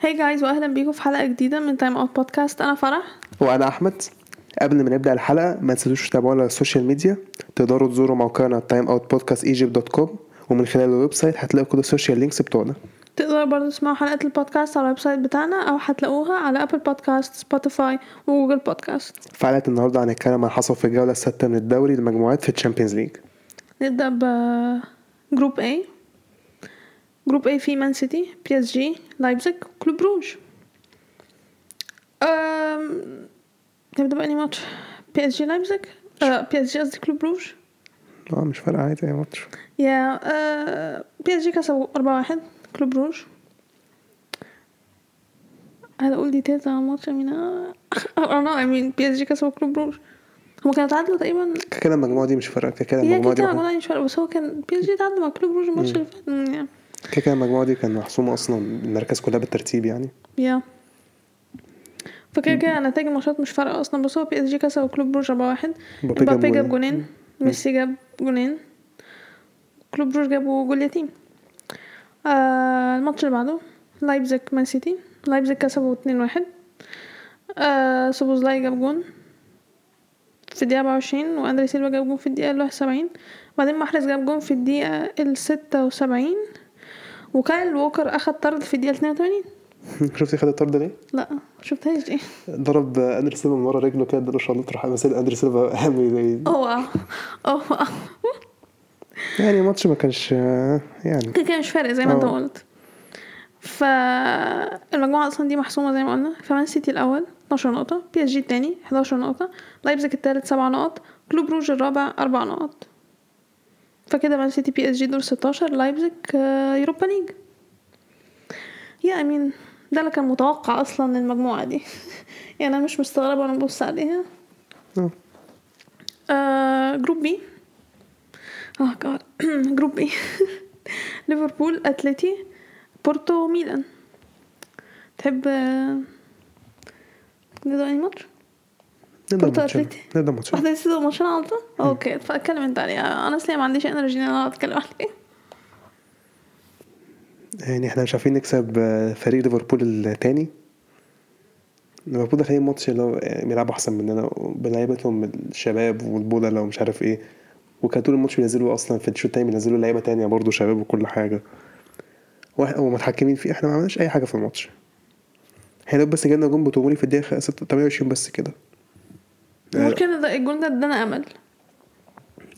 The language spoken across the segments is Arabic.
هاي جايز واهلا بيكم في حلقه جديده من تايم اوت بودكاست انا فرح وانا احمد قبل ما نبدا الحلقه ما تنسوش تتابعونا على السوشيال ميديا تقدروا تزوروا موقعنا timeoutpodcastegypt.com ومن خلال الويب سايت هتلاقوا كل السوشيال لينكس بتوعنا تقدروا برضه تسمعوا حلقه البودكاست على الويب سايت بتاعنا او هتلاقوها على ابل بودكاست سبوتيفاي وجوجل بودكاست في حلقه النهارده هنتكلم عن اللي حصل في الجوله السادسه من الدوري المجموعات في الشامبيونز ليج نبدا ب جروب A جروب A فيه مان سيتي بي اس جي لايبزيج كلوب بروج أم... نبدا بأني ماتش بي اس جي لايبزيج بي اس جي قصدي كلوب بروج اه مش فارقه عادي يا ماتش يا آه، بي اس جي كسبوا 4 1 كلوب روج هقول ديتيلز عن الماتش يا مينا انا اي مين بي اس جي كسبوا كلوب روج هما كانوا تعادلوا تقريبا كده كده المجموعه دي مش فارقه كده كده هي المجموعه كده دي كده مش فارقه بس هو كان بي اس جي تعادل مع كلوب روج الماتش اللي فات أمم، يا كده كده المجموعه دي كان محسومه اصلا المراكز كلها بالترتيب يعني يا فكده كده نتائج الماتشات مش فارقه اصلا بس هو بي اس جي كسبوا كلوب روج 4 1 مبابي جاب مبابي جاب جونين. جونين ميسي جاب جونين كلوب روج جابوا جول يتيم آه الماتش اللي بعده لايبزيج مان سيتي لايبزيج كسبوا 2 1 آه سوبوزلاي جاب جون في الدقيقة 24 واندري سيلفا جاب جون في الدقيقة ال 71 وبعدين محرز جاب جون في الدقيقة ال 76 وكايل ووكر اخد طرد في الدقيقة 82 شفتي خد الطرد ليه؟ لا شفتهاش دي ضرب اندري سيلفا من ورا رجله كده اداله شلوط راح مثل اندري سيلفا قام زي اوه اوه يعني الماتش ما كانش يعني كده كده مش فارق زي ما انت اه. قلت ف المجموعه اصلا دي محسومه زي ما قلنا فمان سيتي الاول 12 نقطه بي اس جي الثاني 11 نقطه لايبزيج الثالث 7 نقط كلوب روج الرابع 4 نقط فكده مان سيتي بي اس جي دور 16 لايبزيج آه، يوروبا ليج يا امين ده اللي كان متوقع اصلا المجموعه دي يعني انا مش مستغربه وانا ببص عليها اه. آه جروب بي اه جاد جروب بي ليفربول اتلتي بورتو ميلان تحب آه، نبدا اي ماتش نبدا بورتو ماتشنا. أتلتي. نبدا ماتشنا. واحده لسه ماتش انا غلطان اوكي فاتكلم انت عليها انا اصلا ما عنديش انرجي ان انا أقعد اتكلم عليه يعني احنا مش عارفين نكسب آه، فريق ليفربول التاني ليفربول داخلين الماتش اللي هو آه، بيلعبوا احسن مننا بلعيبتهم الشباب والبودلة ومش عارف ايه وكان طول الماتش بينزلوا اصلا في الشوط التاني بينزلوا لعيبه تانية برضه شباب وكل حاجه واحنا ومتحكمين فيه احنا ما عملناش اي حاجه في الماتش احنا يا دوب بس جالنا جون بتوموري في الدقيقه 28 بس كده آه. ممكن ده- الجول ده ادانا امل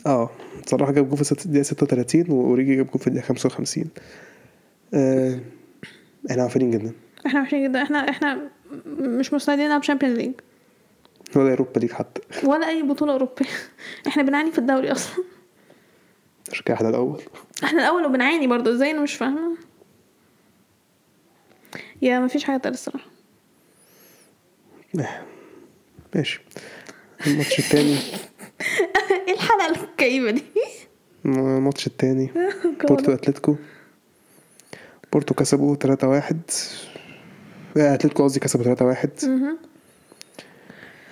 اه صلاح جاب جول في ست- الدقيقة 36 وأوريجي جاب جول في الدقيقة 55 آه احنا عارفين جدا احنا وحشين جدا احنا احنا م- مش مستعدين نلعب شامبيونز ليج ولا أوروبا ليج حتى ولا اي بطوله اوروبيه احنا بنعاني في الدوري اصلا عشان كده احنا الأول احنا الاول وبنعاني برضو ازاي انا مش فاهمه يا مفيش حاجه تانية الصراحه آه. ماشي الماتش التاني ايه الحلقه الكئيبه دي الماتش التاني بورتو أتلتيكو بورتو كسبوا 3-1 آه، أتلتيكو قصدي كسبوا 3-1 مهم.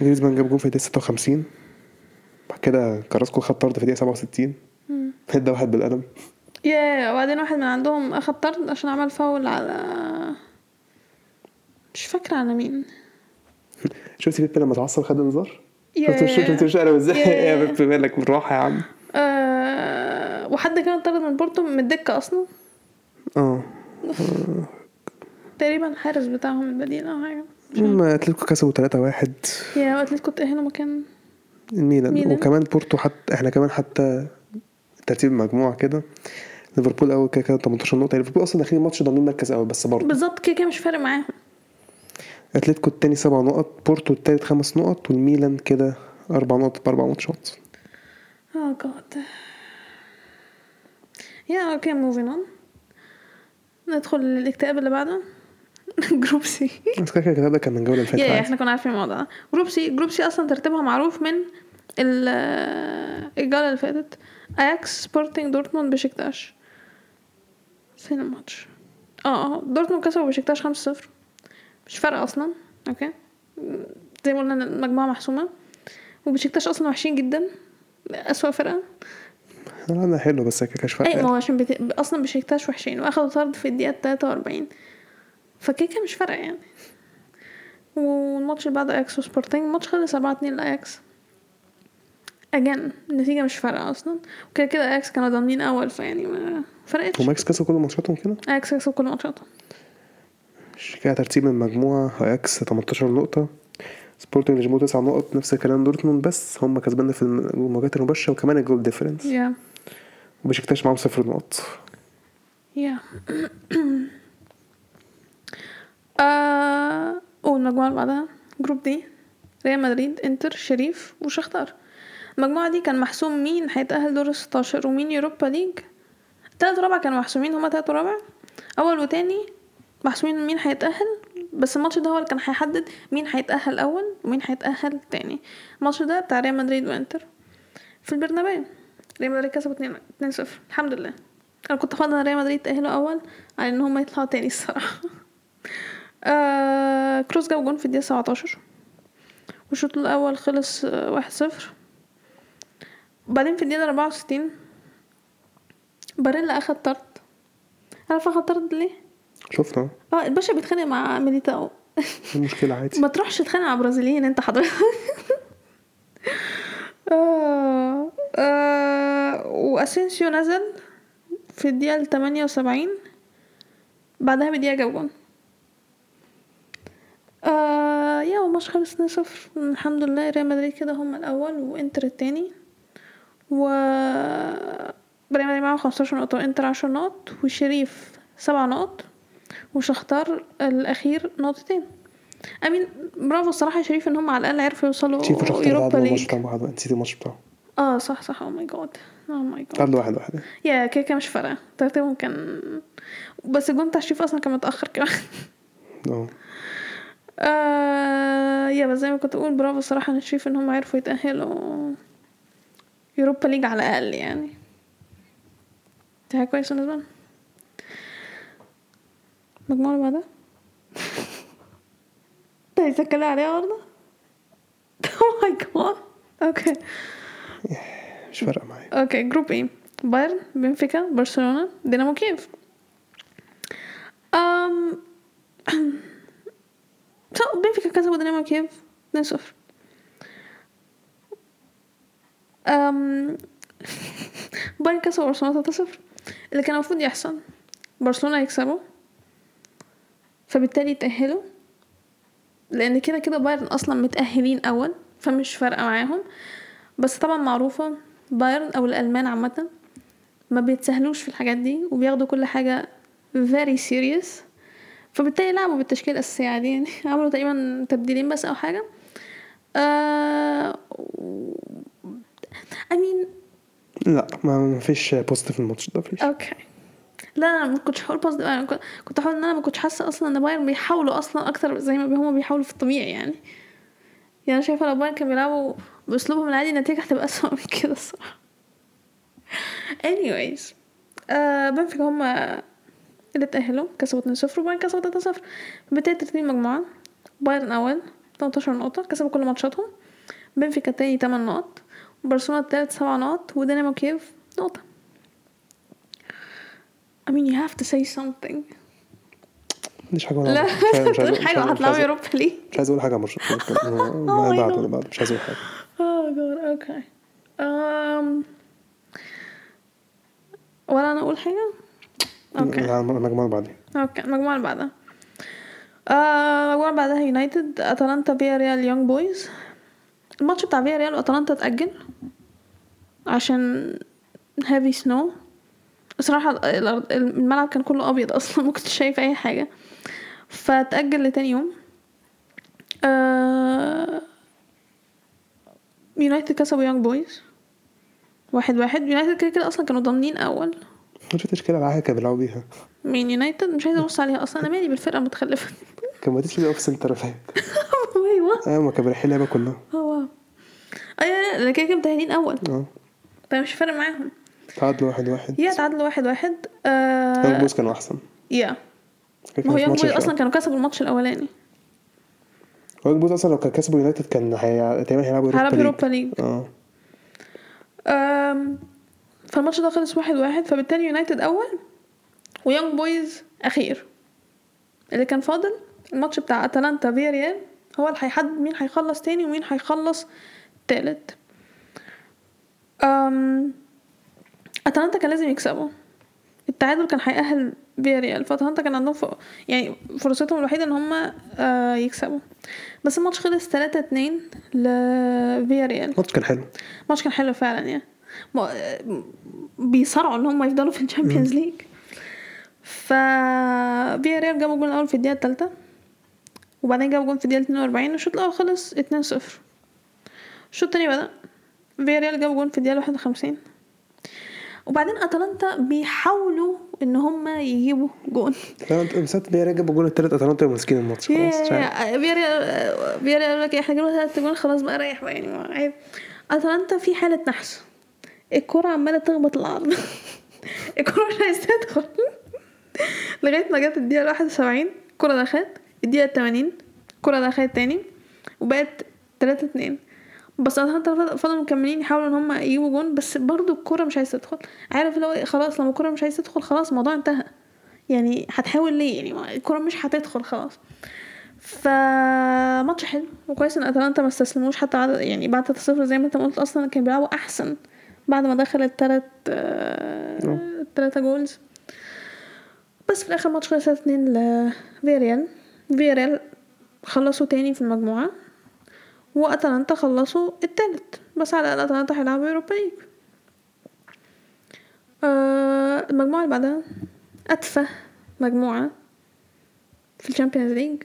جريزمان جاب جول في الدقيقة 56 بعد كده كراسكو خد طرد في الدقيقة 67 ادى واحد بالقلم يا وبعدين واحد من عندهم اخد طرد عشان عمل فاول على مش فاكره على مين شفتي بيب لما اتعصب خد انذار؟ يا- شفت شفت شفت انا ازاي يا- يا بيب مالك بالراحه يا عم آه... وحد كان طرد من بورتو من الدكه اصلا اه تقريبا الحارس بتاعهم البديل او حاجه المهم اتلتيكو كسبوا 3 1 يا اتلتيكو تأهلوا مكان الميلان ميلان. وكمان بورتو حتى احنا كمان حتى ترتيب المجموعه كده ليفربول اول كده كده 18 نقطه يعني ليفربول اصلا داخلين الماتش ضامنين مركز اول بس برضه بالظبط كده كده مش فارق معاهم اتلتيكو التاني سبع نقط بورتو التالت خمس نقط والميلان كده اربع نقط باربع ماتشات اه جاد يا اوكي موفين اون ندخل للاكتئاب اللي بعده جروب سي بس كده كده الكتاب ده كان من الجوله اللي فاتت يا عادي. احنا كنا عارفين الموضوع ده جروب سي جروب سي اصلا ترتيبها معروف من ال- الجوله اللي فاتت اياكس سبورتنج دورتموند بشكتاش فين الماتش اه اه دورتموند كسبوا بشكتاش 5 0 مش فارقه اصلا اوكي زي ما قلنا إن المجموعه محسومه وبشكتاش اصلا وحشين جدا اسوا فرقه انا حلو أيوة. بس كده كده مش فارقه اي ما يعني. هو عشان بت... اصلا بشكتاش وحشين واخدوا طرد في الدقيقه 43 فكده كده مش فارقه يعني والماتش اللي بعده اياكس وسبورتنج الماتش خلص 4 2 لاياكس اجان النتيجه مش فارقه اصلا وكده كده اياكس كانوا ضامنين اول فيعني ما فرقتش هما اكس كسبوا كل ماتشاتهم كده اياكس كسبوا كل ماتشاتهم مش كده ترتيب المجموعة اياكس 18 نقطة سبورتنج لشبونة 9 نقط نفس الكلام دورتموند بس هم كسبانين في المواجهات المباشرة وكمان الجول ديفرنس يا وبشكتاش معاهم صفر نقط يا آه، والمجموعة اللي بعدها جروب دي ريال مدريد انتر شريف وشختار المجموعة دي كان محسوم مين هيتأهل دور الستاشر ومين يوروبا ليج تالت ورابع كانوا محسومين هما تالت ورابع أول وتاني محسومين مين هيتأهل بس الماتش ده هو اللي كان هيحدد مين هيتأهل أول ومين هيتأهل تاني الماتش ده بتاع ريال مدريد وانتر في البرنابيو ريال مدريد كسبوا 2 2 0 الحمد لله انا كنت فاضل ريال مدريد تأهلوا اول على ان هم يطلعوا تاني الصراحه آه كروس جاب جون في الدقيقه 17 والشوط الاول خلص آه، 1-0 بعدين في الدقيقه 64 باريلا اخد طرد عارف اخد طرد ليه شفنا اه الباشا بيتخانق مع ميليتاو إيه المشكلة عادي ما تروحش تتخانق مع برازيليين انت حضرتك آه، آه، واسينسيو نزل في الدقيقة ال 78 بعدها بدقيقة جاب جون آه يا وماتش خلص 2 صفر الحمد لله ريال مدريد كده هم الأول وانتر التاني و ريال مدريد معاهم 15 نقطة وانتر 10 نقط والشريف 7 نقط وشختار الأخير نقطتين أمين برافو الصراحة يا شريف إن هم على الأقل عرفوا شيف يوصلوا وشختار يوروبا بعد الماتش ليج بتاع بعض نسيت الماتش بتاعه اه صح صح او ماي جاد او ماي جاد تعادلوا واحد واحد يا كده كده مش فارقة ترتيبهم كان بس الجون بتاع شريف أصلا كان متأخر كمان اه آه يا بس زي ما كنت أقول برافو الصراحة أنا شريف إن هم عرفوا يتأهلوا يوروبا ليج على الأقل يعني دي حاجة كويسة بالنسبة لنا المجموعة اللي بعدها انت عايز تتكلم عليها برضه؟ Oh اوه ماي جاد اوكي مش فارقة معايا اوكي جروب ايه بايرن بنفيكا برشلونة دينامو كييف ام so بنفيكا كسبوا دينامو كييف 2-0 ام بايرن كسبوا برشلونة 3-0 اللي كان المفروض يحصل برشلونة يكسبوا فبالتالي يتأهلوا لأن كده كده بايرن أصلا متأهلين أول فمش فارقة معاهم بس طبعا معروفة بايرن أو الألمان عامة ما بيتسهلوش في الحاجات دي وبياخدوا كل حاجة very serious فبالتالي لعبوا بالتشكيلة الأساسية عادي يعني عملوا تقريبا تبديلين بس أو حاجة آه... و- I mean لا ما ما فيش بوست في الماتش ده فيش اوكي لا انا ما كنتش هقول باز انا كنت- كنت هقول ان انا ما كنتش حاسه اصلا ان بايرن بيحاولوا اصلا اكتر زي ما هما بيحاولوا في الطبيعي يعني يعني انا شايفه لو بايرن كانوا بيلعبوا باسلوبهم العادي النتيجه هتبقى اسوء من كده الصراحه anyways آه بنفيكا هما اللي اتأهلوا كسبوا 2-0 وبايرن كسبوا 3-0 بداية ترتيب المجموعة بايرن أول 18 نقطة كسبوا كل ماتشاتهم بنفيكا التاني 8 نقط برشلونة التالت 7 نقط ودينامو كييف نقطة I mean you have to say something ما عنديش حاجة لا ولا مش عايز- مش هتقول عايز- مش حاجة عايز- مش هطلعوا عايز- يوروبا ليج مش عايز اقول حاجه عن برشلونه Oh my ما بعد God. اللي بعد مش عايز اقول حاجه Oh god, okay. Um, ولا انا اقول حاجة؟ اوكي لا، المجموعه اللي بعدين اوكي المجموعة اللي بعدها آه، المجموعة اللي بعدها يونايتد اتلانتا فيا ريال يونج بويز الماتش بتاع فيا ريال واتلانتا اتأجل عشان هافي سنو بصراحة الأرض- الملعب كان كله أبيض أصلا ما كنتش شايف أي حاجة فتأجل لتاني يوم آه، يونايتد كسبوا يونج بويز واحد واحد يونايتد كده كده أصلا كانوا ضامنين أول مش تشكيله على حاجه كانوا بيلعبوا بيها مين يونايتد مش عايزة أبص عليها أصلا أنا مالي بالفرقة المتخلفة كان ما تيجي اوف سنتر باك أيوه اه ما كان رايحين اللعبه كلها هو ايوه لا لا كده كده متأهلين اول اه فمش فارق معاهم تعادلوا واحد واحد يا تعادلوا واحد واحد يونج آه بويز كانوا احسن يا كان ما هو في يونج ماتش بويز مش- اصلا كانوا كسبوا الماتش الاولاني يونج بويز اصلا لو كان كسبوا يونايتد كان هي... تقريبا هيلعبوا هيلعبوا يوروبا يوروبا ليج ليج اه آم، فالماتش ده خلص واحد واحد فبالتالي يونايتد اول ويونج بويز اخير اللي كان فاضل الماتش بتاع اتلانتا فيا ريال هو اللي هيحدد مين هيخلص تاني ومين هيخلص تالت أم... اتلانتا كان لازم يكسبوا التعادل كان هيأهل فيا ريال فاتلانتا كان عندهم ف... يعني فرصتهم الوحيدة ان هما آه يكسبوا بس الماتش خلص 3 2 لفيا ريال الماتش كان حلو الماتش كان حلو فعلا يعني ما- بيصارعوا ان هم يفضلوا في الشامبيونز ليج ف فيا ريال جابوا جول الاول في الدقيقه الثالثه وبعدين جابوا جول في الدقيقه 42 والشوط الاول خلص 2 0 الشوط الثاني بدا فيا ريال جابوا جول في الدقيقه 51 وبعدين اتلانتا بيحاولوا ان هم يجيبوا جول لا انت مسات بيها رجع بجول التالت اتلانتا ماسكين الماتش خلاص مش عارف. يا- فياريال فياريال قال لك احنا جبنا ثلاث جول خلاص بقى ريح بقى يعني ما- عيب اتلانتا في حاله نحس الكرة عمالة تخبط العرض الكرة مش عايزة تدخل لغاية ما جت الدقيقة 71 الكرة دخلت الدقيقة 80 الكرة دخلت تاني وبقت 3 2 بس اتلانتا فضلوا مكملين يحاولوا ان هم يجيبوا جون بس برضو الكرة مش عايزة تدخل عارف لو إيه، خلاص لما الكرة مش عايزة تدخل خلاص الموضوع انتهى يعني هتحاول ليه يعني ما- الكرة مش هتدخل خلاص فماتش حلو وكويس ان اتلانتا ما استسلموش حتى عدد يعني بعد 3 زي ما انت ما قلت اصلا كانوا بيلعبوا احسن بعد ما دخل التلات آه، التلاتة جولز بس في الاخر ماتش خلص 2 لفيريال فيريال خلصوا تاني في المجموعة واتلانتا خلصوا التالت بس على الاقل اتلانتا هيلعبوا يوروبا ليج آه، المجموعة اللي بعدها اتفه مجموعة في الشامبيونز ليج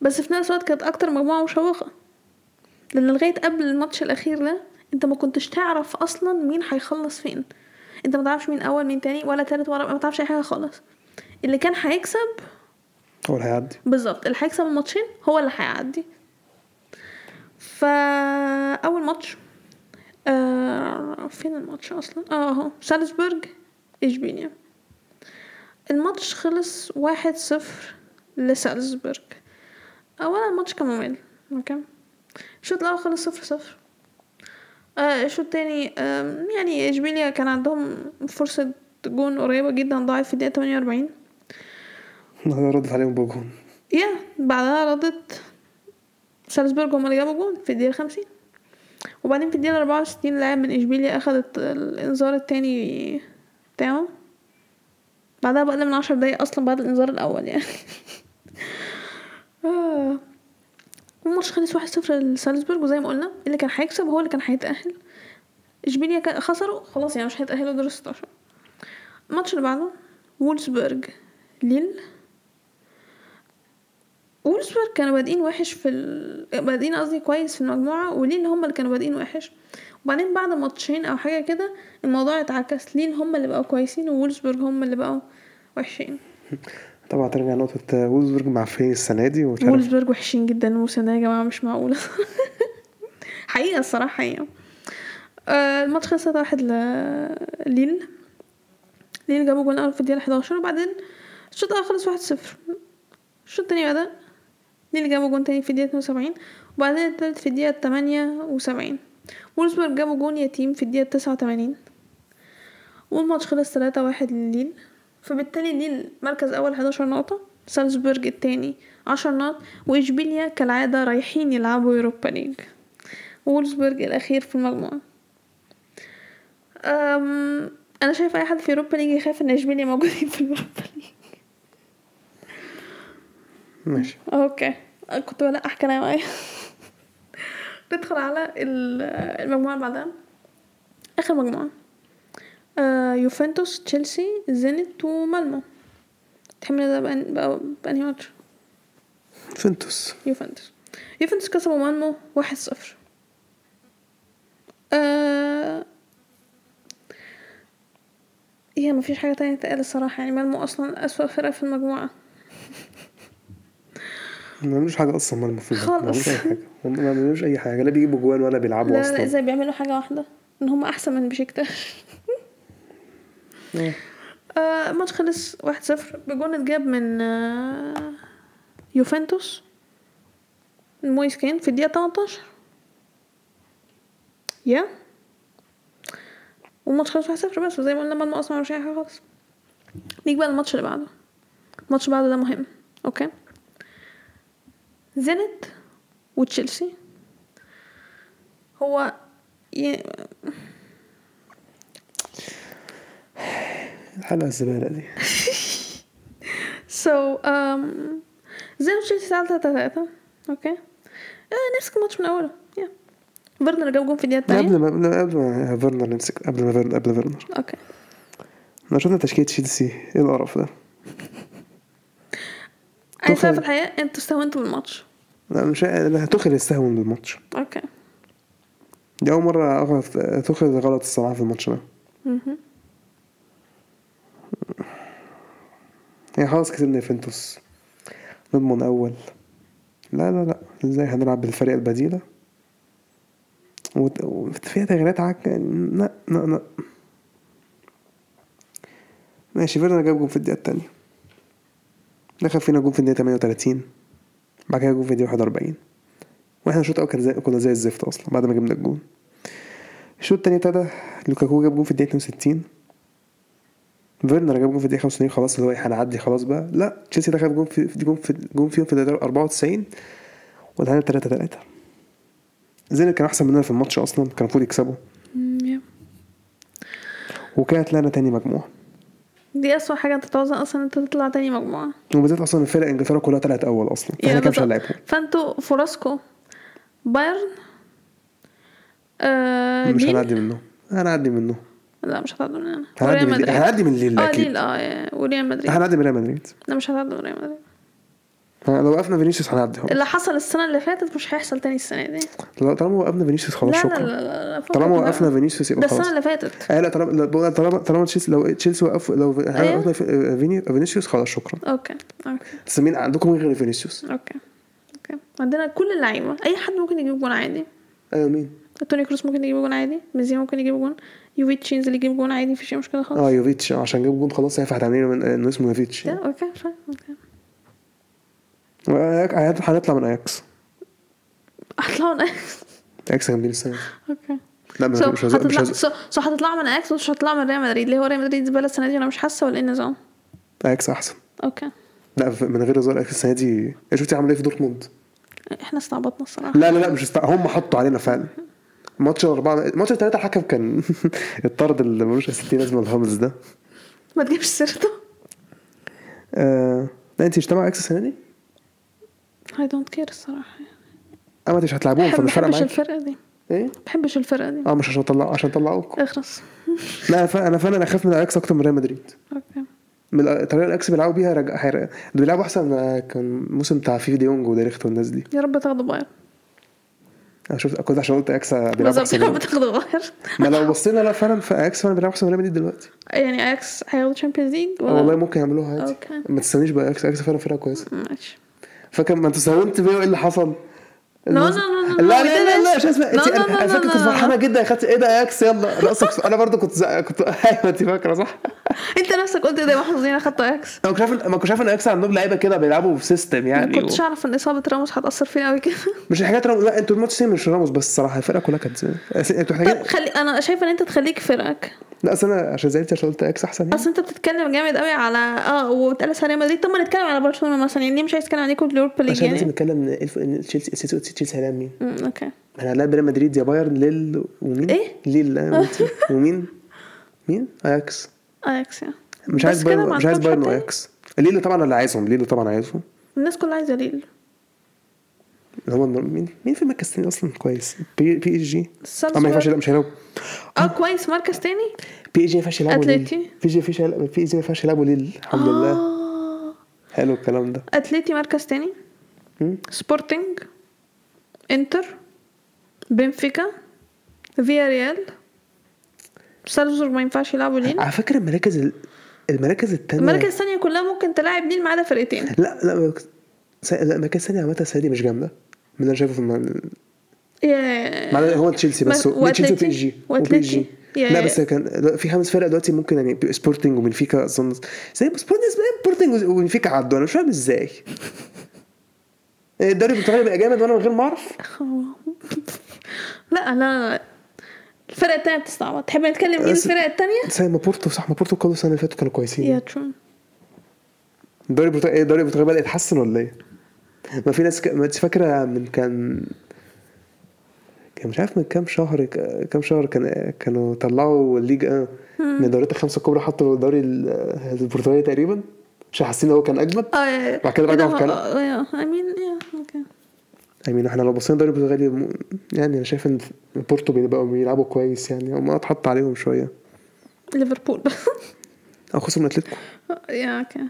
بس في نفس الوقت كانت اكتر مجموعه مشوقه لان لغايه قبل الماتش الاخير ده انت ما كنتش تعرف اصلا مين هيخلص فين انت ما تعرفش مين اول مين تاني ولا تالت ولا رابع، ما تعرفش اي حاجه خالص اللي كان هيكسب هو اللي هيعدي بالظبط اللي هيكسب الماتشين هو اللي هيعدي فاول ماتش آه فين الماتش اصلا اه اهو سالزبورج اشبيليا الماتش خلص واحد صفر لسالزبورج اولا الماتش كان ممل اوكي الشوط الاول خلص صفر صفر آه الشوط التاني آم، يعني اشبيليا كان عندهم فرصة جون قريبة جدا ضاعت في الدقيقة 48 النهارده ردت عليهم بجون يا بعدها ردت سالزبورج هما اللي جابوا جون في الدقيقة خمسين وبعدين في الدقيقة أربعة وستين لاعب من إشبيليا أخدت الإنذار التاني بتاعه بعدها بأقل من عشر دقايق أصلا بعد الإنذار الأول يعني آه. الماتش خلص واحد صفر لسالزبورج وزي ما قلنا اللي كان هيكسب هو اللي كان هيتأهل إشبيليا كان- خسروا خلاص يعني مش هيتأهلوا دور ستاشر الماتش اللي بعده وولسبورج ليل وولسبورغ كانوا بادئين وحش في ال... بادئين قصدي كويس في المجموعة وليه اللي هم اللي كانوا بادئين وحش وبعدين بعد ماتشين او حاجة كده الموضوع اتعكس لين هم اللي بقوا كويسين وولسبورغ هم اللي بقوا وحشين طبعا ترجع نقطة وولزبرج معفنين السنة دي ومش عارف وولسبورغ وحشين جدا الموسم ده يا جماعة مش معقولة حقيقة الصراحة حقيقة آه، الماتش خلص 3 واحد لليل ليل جابوا جول اول في الدقيقة 11 وبعدين الشوط الأول خلص واحد صفر الشوط التاني بدأ ليل جابوا جون تاني في الدقيقة 72 وبعدين التالت في الدقيقة 78 وولسبورغ جابوا جون يتيم في الدقيقة 89 والماتش خلص 3 واحد لليل فبالتالي ليل مركز أول 11 نقطة سالزبورج التاني 10 نقط وإشبيليا كالعادة رايحين يلعبوا يوروبا ليج وولسبورج الأخير في المجموعة أم أنا شايف أي حد في يوروبا ليج يخاف إن إشبيليا موجودين في يوروبا ليج ماشي اوكي كنت بلقح كلام ايه ندخل على ال- المجموعه اللي بعدها اخر مجموعه آه، يوفنتوس تشيلسي زينت ومالمو تحمل ده بأن- بقى بأنهي ماتش فنتوس يوفنتوس يوفنتوس كسبوا مالمو واحد صفر آه... هي إيه، مفيش حاجة تانية تقال الصراحة يعني مالمو أصلا أسوأ فرقة في المجموعة ما بيعملوش حاجة أصلا ما المفروض ما خالص. بيعملوش أي حاجة هم ما بيعملوش أي حاجة لا بيجيبوا جوان ولا بيلعبوا لا لا أصلا إذا بيعملوا حاجة واحدة إن هم أحسن من بشكتاش آه. آه، الماتش خلص واحد صفر بجون اتجاب من آه، يوفنتوس مويس كين في الدقيقة 18 يا والماتش خلص واحد صفر بس وزي ما قلنا ما اصلا مش أي حاجة خالص نيجي بقى الماتش اللي بعده الماتش بعده ده مهم اوكي زينت وتشيلسي هو ي... الحلقه الزباله دي سو um, زينت وتشيلسي تعادل 3 3 اوكي آه نمسك الماتش من اوله يا فيرنر جاب جون في الدقيقه لا، الثانيه قبل ما قبل ما- قبل ما فيرنر نمسك قبل ما فيرنر قبل فيرنر اوكي احنا شفنا تشكيله تشيلسي ايه القرف ده انا شايف توخيل. في الحقيقه انتوا استهونتوا بالماتش لا مش لا توخيل يستهون بالماتش اوكي دي اول مره اغلط توخيل غلط الصراحه في الماتش ده مهم. يعني خلاص كسبنا يوفنتوس نضمن اول لا لا لا ازاي هنلعب بالفريق البديله وت- وت- فيها تغييرات عك يعني لا لا لا ماشي فيرنا جاب جون في الدقيقه التانية دخل فينا جون في الدقيقه 38 بعد كده جون في الدقيقه 41 واحنا الشوط الاول كان زي كنا زي الزفت اصلا بعد ما جبنا الجون الشوط التاني ابتدى لوكاكو جاب جون في الدقيقه 62 فيرنر جاب جون في الدقيقه 95 خلاص اللي هو إيه، هنعدي خلاص بقى لا تشيلسي دخل جون في جون في جون فيهم في الدقيقه 94 وتعادل 3 3 زينك كان احسن مننا في الماتش اصلا كان المفروض يكسبه مم، يا. وكده طلعنا تاني مجموعه دي اسوأ حاجه انت تتوظن اصلا انت تطلع تاني مجموعه وبالذات اصلا الفرق انجلترا كلها طلعت اول اصلا يا فاحنا كده مش بالظبط. هنلعبهم فانتوا فرصكم بايرن آه مش ليل هنعدي منهم هنعدي منهم لا مش هتعدوا من هنا هنعدي وريال من مدريد ليل هنعدي من ليل اه اكيد ليل اه يا- وريال مدريد هنعدي من ريال مدريد آه، لا مش هتعدوا من ريال مدريد لو وقفنا فينيسيوس هنعديهم اللي حصل السنه اللي فاتت مش هيحصل تاني السنه دي لو- طالما وقفنا فينيسيوس خلاص لا لا شكرا لا لا, لا فوق طالما ده. وقفنا فينيسيوس ده يبقى خلاص السنه اللي فاتت اه لا طالما لا، بقول لك طالما طالما تشيلسي لو تشيلسي وقف لو أيوة. وقفنا في- آه، فيني- فينيسيوس خلاص شكرا اوكي اوكي بس مين عندكم مين غير فينيسيوس؟ اوكي اوكي عندنا كل اللعيبه اي حد ممكن يجيب جون عادي ايوه مين؟ توني كروس ممكن يجيب جون عادي ميزي ممكن يجيب جون يوفيتشينز اللي يجيب جون عادي مفيش اي مشكله خالص اه يوفيتش عشان جاب جون خلاص هينفع تعمل من آه، انه اسمه يوفيتش ده اوكي فاهم اوكي وأياك- هنط- آه، هنطلع من اياكس اطلعوا من اياكس جامدين السنه دي. اوكي لا مش سو مش هز- مش هتطلع هز- سو سو هتطلع من اياكس مش هتطلع من ريال مدريد ليه هو ريال مدريد زباله السنه دي وانا مش حاسه ولا ايه النظام اياكس احسن اوكي لا ف- من غير هزار اياكس السنه دي شفتي عمل ايه في دورتموند؟ احنا استعبطنا الصراحه لا لا لا مش است... هم حطوا علينا فعلا ماتش الاربعه ماتش الثلاثه الحكم كان الطرد اللي ملوش أي 60 لازمه الهامز ده ما تجيبش سيرته آه... لا انت مش تابع اياكس السنه دي؟ اي دونت كير الصراحه اما انت مش هتلعبوهم بحب- ما فمش فارقه بحبش معاك الفرقه دي ما ايه؟ بحبش الفرقه دي اه مش عشان اطلع عشان اطلعوك اخرس لا انا فعلا انا فعلا اخاف من اياكس اكتر من ريال مدريد اوكي من الطريقه اللي الاكس بيلعبوا بيها رجع حير... دول بيلعبوا احسن ما كان الموسم بتاع فيفي ديونج وديريخت والناس دي يا رب تاخدوا بايرن انا شفت كنت عشان قلت اكس بيلعب بالظبط احسن يا رب منهم. تاخدوا بايرن ما لو بصينا لا فعلا فاكس فعلا بيلعب احسن من ريال مدريد دلوقتي يعني اياكس هياخدوا تشامبيونز ليج أو والله ممكن يعملوها عادي اوكي ما تستنيش بقى اكس اكس فعلا فرقه كويسه ماشي فاكر ما انت ساومت بيه وايه اللي حصل نو نو نو لا لا لا لا مش اسمع لا انت لا انا لا أنا فاكر كنت فرحانه جدا يا خدت ايه ده يا اكس يلا رقصك انا برضو كنت زق- كنت ايوه انت فاكره صح انت نفسك قلت ده محظوظين اخدتوا اياكس انا كنت عارف ما كنتش عارف ان اكس عندهم لعيبه كده بيلعبوا بسيستم ما يعني كنتش اعرف ان اصابه راموس هتاثر فينا قوي كده مش الحاجات راموس لا انتوا الماتش سين مش راموس بس الصراحه الفرقه كلها كانت زي- انتوا محتاجين طب خلي انا شايفه ان انت تخليك فرقك لا اصل انا عشان زعلت عشان قلت اكس احسن يعني اصل انت بتتكلم جامد قوي على اه وبتقلس على ريال مدريد طب ما نتكلم على برشلونه مثلا يعني ليه مش عايز تتكلم عن ايكو اليوروبا ليج عشان لازم يعني نتكلم ان الف- ان تشيلسي اساسي تشيلسي هيلعب مين؟ أمم، اوكي احنا هنلاعب ريال مدريد يا بايرن ليل ومين؟ إيه؟ ليل آه، وأنت- ومين؟ مين؟ اياكس اياكس يعني مش عايز بس كده بايرن ما مش عايز عندكمش بايرن حد تاني؟ واياكس ليل طبعا اللي عايزهم ليل طبعا عايزهم الناس كلها عايزه ليل اللي هو مين مين في المركز الثاني اصلا كويس؟ بي, بي اس جي اه ما ينفعش السمسار لا مش هيلعبوا اه كويس مركز تاني بي اس جي ما ينفعش إيه يلعبوا ليل أتليتي. بي اس جي ما ينفعش يلعبوا- بي اس جي ما ينفعش إيه يلعبوا ليل الحمد لله آه. حلو الكلام ده اتليتي مركز تاني مم. سبورتنج انتر بنفيكا فيا ريال سالزبورج ما ينفعش يلعبوا ليل على فكره المراكز ال- المراكز الثانيه المراكز الثانيه كلها ممكن تلاعب ليل ما عدا فرقتين لا لا س... لا المكان الثاني عامه السنه دي مش جامده من اللي انا شايفه في الم... يا- معناه هو تشيلسي بس ما- هو تشيلسي وبي وأتليتي- اس جي وبي اس وأتليتي. جي يا- لا بس كان لا، في خمس فرق دلوقتي ممكن يعني بيبقى سبورتنج وبنفيكا اظن زي سبورتنج إيه؟ سبورتنج وبنفيكا عدوا انا مش فاهم ازاي الدوري البرتغالي بقى جامد وانا من غير ما اعرف لا لا الفرقه الثانيه بتستعبط تحب نتكلم مين أس- الفرقه الثانيه زي ما بورتو صح ما بورتو كل السنه اللي فاتت كانوا كويسين يا ترون الدوري البرتغالي ايه الدوري البرتغالي بدأ يتحسن ولا ايه؟ ما في ناس ك... ما انتش فاكره من كان كان مش عارف من كام شهر ك- كام شهر كان كانوا طلعوا الليج آه، من الدوريات الخمسه الكبرى حطوا الدوري ال- البرتغالي تقريبا مش حاسين هو كان اجمد اه بعد كده رجعوا في كندا. اي مين اوكي يعني احنا لو بصينا الدوري البرتغالي م- يعني انا شايف ان بورتو بيبقوا بيلعبوا كويس يعني هم اتحط عليهم شويه ليفربول او خسروا من اتلتيكو يا اوكي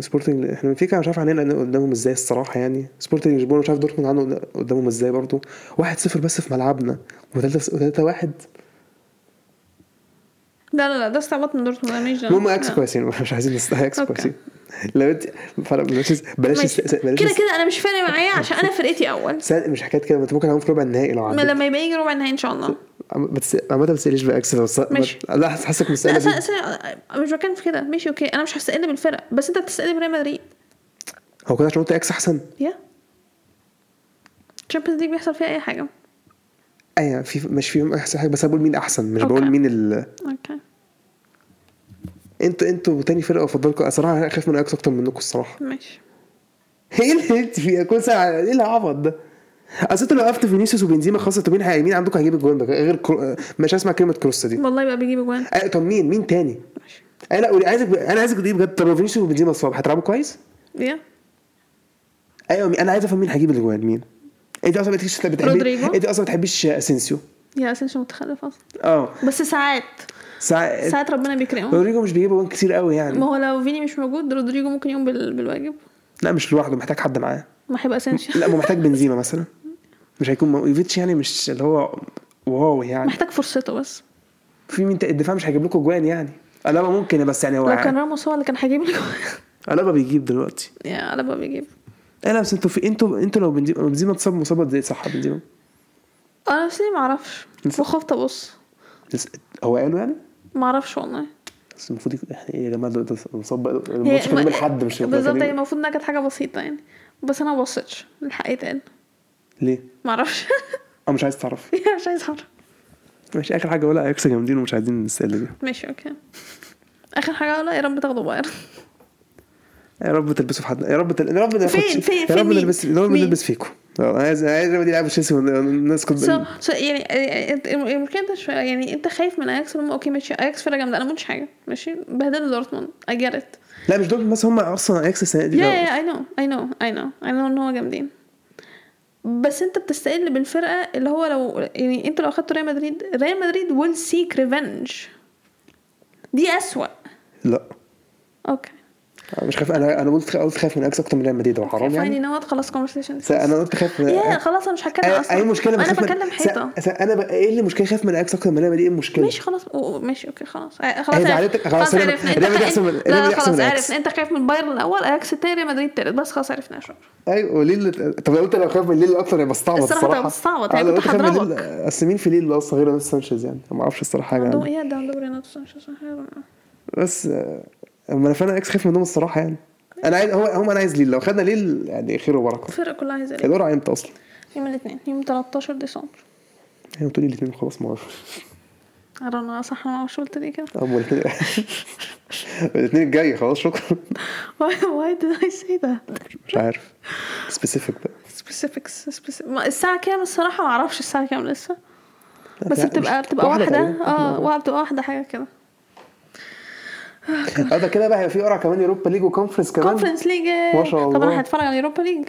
سبورتنج احنا بنفيكا مش عارف عننا قدامهم ازاي الصراحه يعني سبورتنج لشبونه مش عارف دورتموند عنه قدامهم ازاي برضه 1-0 بس في ملعبنا و3 3-1 لا لا لا ده استعبط من دورتموند ده مش ده. المهم اكس لا. كويسين مش عايزين نس- اكس أوكي. كويسين لو انت فلا- بلاش بلاش ماشي. است- بلاش كده است- كده انا مش فارق معايا عشان انا فرقتي اول سا- مش حكايه كده ما انت ممكن تعمل في ربع النهائي لو ما عندك لما يبقى يجي ربع النهائي ان شاء الله بس عامة ما تسأليش بقى اكس لو ص- ماشي. ما- لا حاسسك لا مستقلة أصل- بيه. أصل أنا مش بتكلم في كده ماشي اوكي انا مش هستقل بالفرق بس انت بتستقل بريال مدريد هو كده عشان قلت اكس احسن يا تشامبيونز ليج بيحصل فيها اي حاجه ايوه في مش في احسن حاجه بس أنا بقول مين احسن مش أوكي. بقول مين ال... اوكي انتوا انتوا تاني فرقه افضلكم الصراحه انا خايف من اكس اكتر منكم الصراحه ماشي ايه اللي انت فيه كل ساعه ايه العبط ده اصل انتوا لو وقفت فينيسيوس وبنزيما خلاص انتوا مين هي- مين عندكم هيجيب الجول ده غير كرو... مش هسمع كلمه كروس دي والله بقى بيجيب اجوان آه طب مين مين تاني ماشي انا لا عايزك انا عايزك تجيب بجد طب لو فينيسيوس وبنزيما الصبح هتلعبوا كويس؟ يا ايوه مين- انا عايز افهم مين هيجيب الاجوان مين؟ انت اصلا ما بتحبيش بتحبي رودريجو. انت اصلا ما بتحبيش اسينسيو يا اساسا متخلف اصلا اه بس ساعات ساعات ساعات ربنا بيكرمه رودريجو مش بيجيب اجوان كتير قوي يعني ما هو لو فيني مش موجود رودريجو ممكن يقوم بال- بالواجب لا مش لوحده محتاج حد معاه ما هيبقى اسينسيو لا ما محتاج بنزيما مثلا مش هيكون مو- يوفيتش يعني مش اللي هو واو يعني محتاج فرصته بس في مين ت- الدفاع مش هيجيب لكم اجوان يعني الابا ممكن بس يعني هو لو كان عا- راموس هو اللي كان هيجيب الجوان الابا بيجيب دلوقتي يا على بقى بيجيب انا بس انتوا في انتوا انتوا لو بنزيما بنزيما اتصاب مصابه ازاي صح بنزيما انا نفسي معرفش نفسك؟ وخفت ابص بس- هو قالوا يعني معرفش والله بس المفروض يكون- احنا ايه يا جماعه ده ده مصاب بقى- هي- الماتش كان يوم الاحد مش يوم بالظبط هي الاثنين. المفروض انها كانت حاجه بسيطه يعني بس انا ما بصيتش الحق يتقال ليه؟ معرفش يعني اه مش عايز تعرف مش عايز اعرف مش اخر حاجه ولا اكس جامدين ومش عايزين نسال دي ماشي اوكي اخر حاجه ولا يا رب تاخده بايرن يا رب تلبسوا في حد يا رب تل... يا رب ناخد فين- فين- يا فين رب مين؟ نلبس يا رب مين؟ نلبس فيكم يلا، انا عايز عايز الريال يلعب تشيلسي ونسكت سو سو يعني آه، المشكله انت شويه يعني انت خايف من اياكس هم اوكي ماشي اياكس فرقه جامده انا ما قلتش حاجه ماشي بهدلوا دورتموند اي جيت ات لا مش دول بس هم اصلا اكس السنه دي يا لا. يا اي نو اي نو اي نو اي نو ان هو جامدين بس انت بتستقل بالفرقه اللي هو لو يعني انت لو اخدت ريال مدريد ريال مدريد ويل سيك ريفنج دي اسوأ لا اوكي أنا مش خايف انا انا قلت قلت خايف من اكس اكتر من ريال مدريد هو حرام فايني يعني نوت خلاص كونفرسيشن س- انا قلت خايف من يا خلاص انا مش هتكلم أنا- اصلا اي مشكله انا بخاف من- بتكلم س- حيطه س- انا بقى ايه اللي مشكله خايف من اكس اكتر من ريال مدريد ايه المشكله ماشي خلاص أو- ماشي اوكي خلاص آه، هي خلاص زعلتك؟ خلاص، ريال- عرفنا انت ريال مدريد خايف أحسن من- لا، ريال لا مدريد أحسن خلاص من عرفنا أياكس. انت خايف من بايرن الاول اياكس التاني ريال مدريد التالت بس خلاص عرفنا يا شباب ايوه وليه اللي- طب لو انت لو خايف من ليل اكتر يبقى استعبط الصراحة الصراحه تبقى بستعبط، يعني أنا آه، لو كنت أنت خايف من هضربك. ليل- اصل مين في ليل اصلا غير لويس سانشيز يعني أنا ما اعرفش الصراحه حاجه عندهم يعني. ايه ده عندهم رينات سانشيز بس آه، اما انا فعلا اكس خايف منهم الصراحه يعني انا عايز هو هم انا عايز ليل لو خدنا ليل يعني خير وبركه الفرق كلها عايزه إيه؟ القرعه امتى اصلا؟ يوم الاثنين يوم 13 ديسمبر هي يعني بتقولي الاثنين خلاص ما اعرفش انا صح انا مش قلت ليه كده هم الاثنين الاثنين الجاي خلاص شكرا why, why did I say that مش عارف سبيسيفيك بقى specifics specific. ما الساعة كام الصراحة ما اعرفش الساعة كام لسه بس لا، بتبقى مش- بتبقى واحدة تقريباً. اه وا- بتبقى واحدة حاجة كده اه ده كده بقى هيبقى في قرعه كمان يوروبا ليج وكونفرنس كمان كونفرنس ليج ما شاء طب الله. انا هتفرج على اليوروبا ليج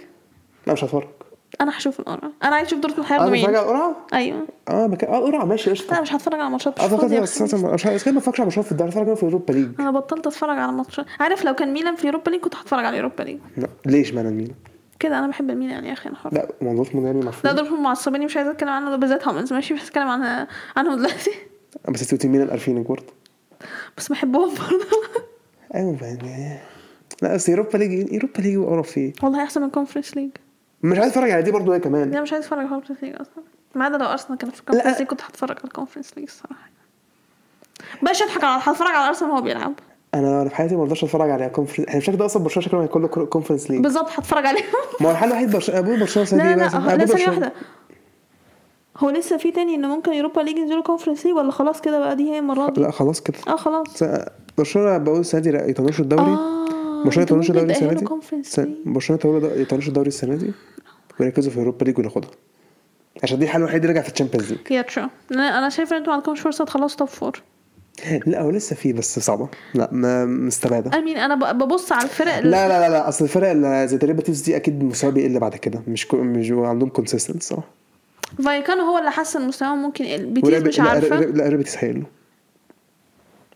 لا مش هتفرج اه، انا هشوف القرعة انا عايز اشوف دورتموند هياخدوا انا مين فجاه قرعه ايوه اه مكان اه قرعه ماشي لا، انا قشطه مش هتفرج على ماتشات مش اه فكرت فاضية بس بس أنا مش عارف كده ما اتفرجش على ماتشات في الدوري اتفرج في اوروبا ليج انا بطلت اتفرج على ماتشات عارف لو كان ميلان في يوروبا ليج كنت هتفرج على يوروبا ليج لا، ليش معنى مين؟ كده انا بحب الميلان يعني يا اخي انا حر لا موضوع اسمه يعني لا مفهوم دول هم معصبيني مش عايزه اتكلم عنه بالذات هوملز ماشي مش هتكلم عن عنهم دلوقتي بس سيتي ميلان عارفين الجورد بس بحبهم برضه ايوه يعني لا بس يوروبا ليج يوروبا ليج وقرف فيه والله احسن من كونفرنس ليج مش عايز اتفرج على دي برضه هي كمان انا مش عايز اتفرج على كونفرنس ليج اصلا ما عدا لو ارسنال كانت في كونفرنس ليج كنت هتفرج على كونفرنس ليج الصراحه مش هضحك على هتفرج على ارسنال وهو بيلعب انا في حياتي ما اقدرش اتفرج على كونفرنس احنا شكل ده اصلا برشلونه شكله هيكون له كونفرنس ليج بالظبط هتفرج عليهم ما هو الحل الوحيد برشلونه ابوه برشلونه لا السنه لا لا دي إيه. بس- هو- لا أبوه ثانيه واحده برشلونة. هو لسه في تاني ان ممكن يوروبا ليج ينزلوا كونفرنس ليج ولا خلاص كده بقى دي هي المره دي لا خلاص كده اه خلاص بس برشلونه بقول السنه دي لا يطنشوا الدوري اه برشلونه يطنشوا الدوري السنه دي س- دي برشلونه يطلعوا- يطنشوا الدوري السنه دي ويركزوا في اليوروبا ليج وياخدها عشان دي الحل الوحيد اللي رجع في الشامبيونز ليج يا ترى انا أنا شايفه ان انتوا ما عندكمش فرصه تخلصوا توب فور لا هو لسه في بس صعبه لا ما مستبعده اي مين انا ب- ببص على الفرق ال- لا لا لا لا اصل الفرق اللي زي تريباتيفز دي اكيد مستوى بيقل بعد كده مش كو... مش عندهم كونسيستنت صح فايكانو هو اللي حسن مستواه ممكن يقل. بيتيز مش لا, عارفه لا ريباتيفز هيقلوا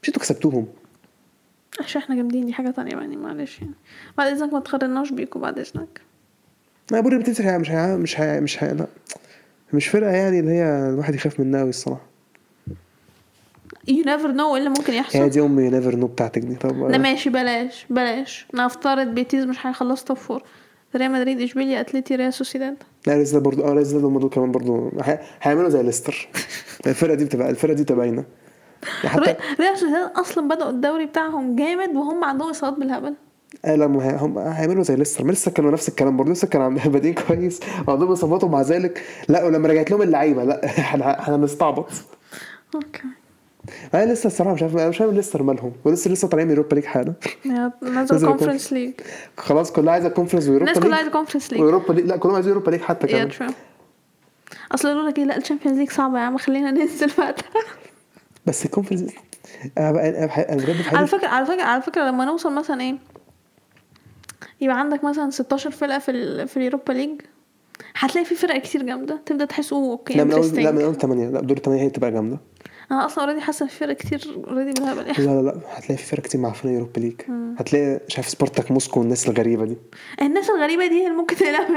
مش انتوا كسبتوهم عشان احنا جامدين دي حاجه تانية يعني معلش يعني بعد اذنك ما تقارناش بيكوا بعد اذنك لا بقول ريباتيفز هي- مش هي... مش هي... مش هي... لا مش فرقه يعني اللي هي الواحد يخاف منها قوي الصراحه يو نيفر نو ايه اللي ممكن هي يحصل يعني دي امي نيفر نو بتاعتك دي طب لا ماشي بلاش بلاش انا افترض بيتيز مش هيخلص توب فور ريال مدريد اشبيليا اتلتي ريال سوسيداد لا ليز ده برضه اه ليز ده هم دول كمان برضه هي- هيعملوا زي ليستر الفرقه دي بتبقى الفرقه دي بتبقى باينه حتى ري- ريال سوسيداد اصلا بدأوا الدوري بتاعهم جامد وهم عندهم اصابات بالهبل آه لا مه... هم هيعملوا زي ليستر ما لسه كانوا نفس الكلام برضه لسه كانوا عند- بادئين كويس وعندهم اصابات ومع ذلك لا ولما رجعت لهم اللعيبه لا احنا احنا بنستعبط اوكي انا لسه الصراحه مش عارف انا مش فاهم ليستر مالهم ولسه لسه طالعين من اوروبا ليج حالا نزلوا كونفرنس ليج خلاص كلها عايزه كونفرنس ويوروبا الناس ليج كلها عايزه كونفرنس ليج ويوروبا ليج لا كلهم عايزين اوروبا ليج حتى يا كمان ترى اصل يقولوا لك ايه لا الشامبيونز ليج صعبه يا عم خلينا ننزل بعدها بس الكونفرنس انا بقى انا بح- أنا بجد على بحاول فكره على فكره على فكره لما نوصل مثلا ايه يبقى عندك مثلا 16 فرقه في ال في اليوروبا ليج هتلاقي في فرق كتير جامده تبدا تحس اوه اوكي لا من اول لا من interesting. اول 8 لا دور 8 هي تبقى جامده انا اصلا اوريدي حاسه ان في فرق كتير اوريدي بالهبل لا لا لا هتلاقي في فرق كتير معفنه يوروبا ليج هتلاقي مش عارف سبارتاك موسكو والناس الغريبه دي الناس الغريبه دي هي اللي ممكن تلعب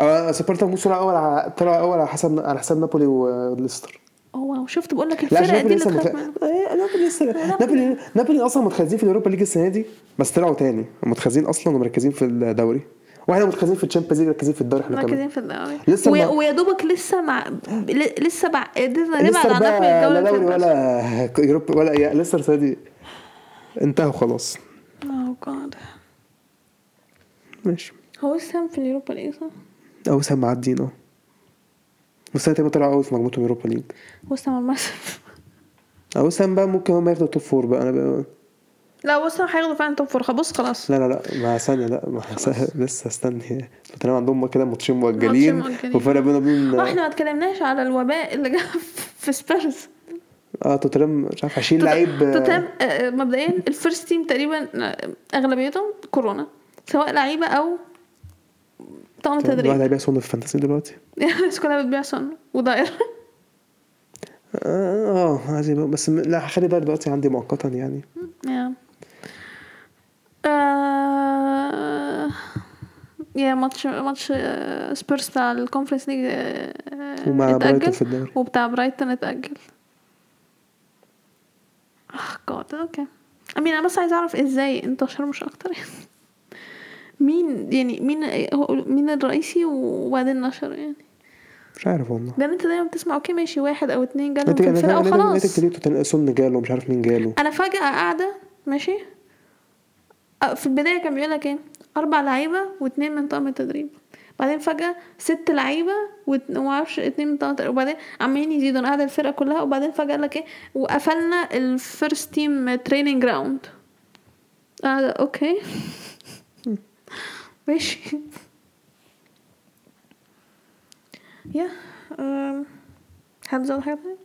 اه سبارتاك موسكو طلع اول على- طلع اول على حسب على حساب نابولي وليستر هو شفت بقول لك لا عشان الفرق دي نابولي اللي لسه تخاف متخ... منها آه، نابولي لسه نابولي نابولي اصلا متخاذين في اليوروبا ليج السنه دي بس طلعوا تاني متخاذين اصلا ومركزين في الدوري واحنا متخاذين في الشامبيونز ليج مركزين في الدوري احنا كمان مركزين في الدوري لسه ويا- ما- ويا دوبك لسه مع ل- لسه بع... قدرنا نبعد لسه عن نابولي بقى لا الدوري دوري اللي فات بس. ولا يوروبا ولا يا- لسه السنه دي انتهوا خلاص اوه جاد ماشي هو السهم في اليوروبا ليج صح؟ او سام معديين اه والسنه تقريبا طلعوا اول في مجموعتهم يوروبا ليج هو السهم المصرف او سام بقى ممكن هم ياخدوا توب فور بقى انا بقى لا هو السهم هياخدوا فعلا توب فور بص خلاص لا لا لا مع ثانية لا مع ثانية لسه استني توتنهام عندهم كده ماتشين مؤجلين ماتشين مؤجلين. وفرق بينه آه، وبين احنا ما اتكلمناش على الوباء اللي جه في سبيرز اه توتنهام مش عارف 20 لعيب آه، توتنهام آه، مبدئيا الفيرست تيم تقريبا آه، اغلبيتهم كورونا سواء لعيبه او طقم الواحد تدريب هيبيع صنف في فانتسي دلوقتي الناس كلها بتبيع سن وداير اه آه، عايز يبقى- بس م- لا هخلي ده دلوقتي عندي مؤقتا يعني يا آه، يا ماتش ماتش آه، سبيرز بتاع الكونفرنس ليج آه، آه، ومع برايتون اتأجل في الدوري وبتاع برايتون اتأجل اه جاد اوكي امين انا بس عايز اعرف ازاي انتشر مش اكتر يعني مين يعني مين هو- مين الرئيسي وبعدين نشر يعني مش عارف والله لان انت دايما بتسمع اوكي ماشي واحد او اتنين جالهم ناتج في الفرقه ناتج- ناتج وخلاص كتير توتنهام سون جاله مش عارف مين جاله انا فجاه قاعده ماشي أه، في البدايه كان بيقول لك ايه اربع لعيبه واتنين من طاقم التدريب بعدين فجاه ست لعيبه وت- وما اعرفش اتنين من طاقم التدريب وبعدين عمالين يزيدوا انا قاعده الفرقه كلها وبعدين فجاه قال لك ايه وقفلنا الفيرست تيم تريننج راوند قاعده اوكي ماشي يا أم، حابب تزود حاجه تانية؟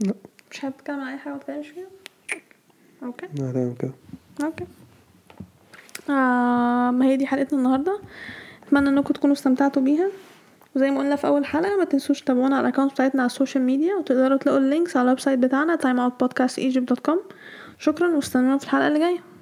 لا مش حابب تتكلم عن اي حاجه ما تتكلمش فيها اوكي لا تمام كده اوكي آه ما هي دي حلقتنا النهارده اتمنى انكم تكونوا استمتعتوا بيها وزي ما قلنا في اول حلقه ما تنسوش تتابعونا على الاكونت بتاعتنا على السوشيال ميديا وتقدروا تلاقوا اللينكس على الويب سايت بتاعنا timeoutpodcastegypt.com شكرا واستنونا في الحلقه اللي جايه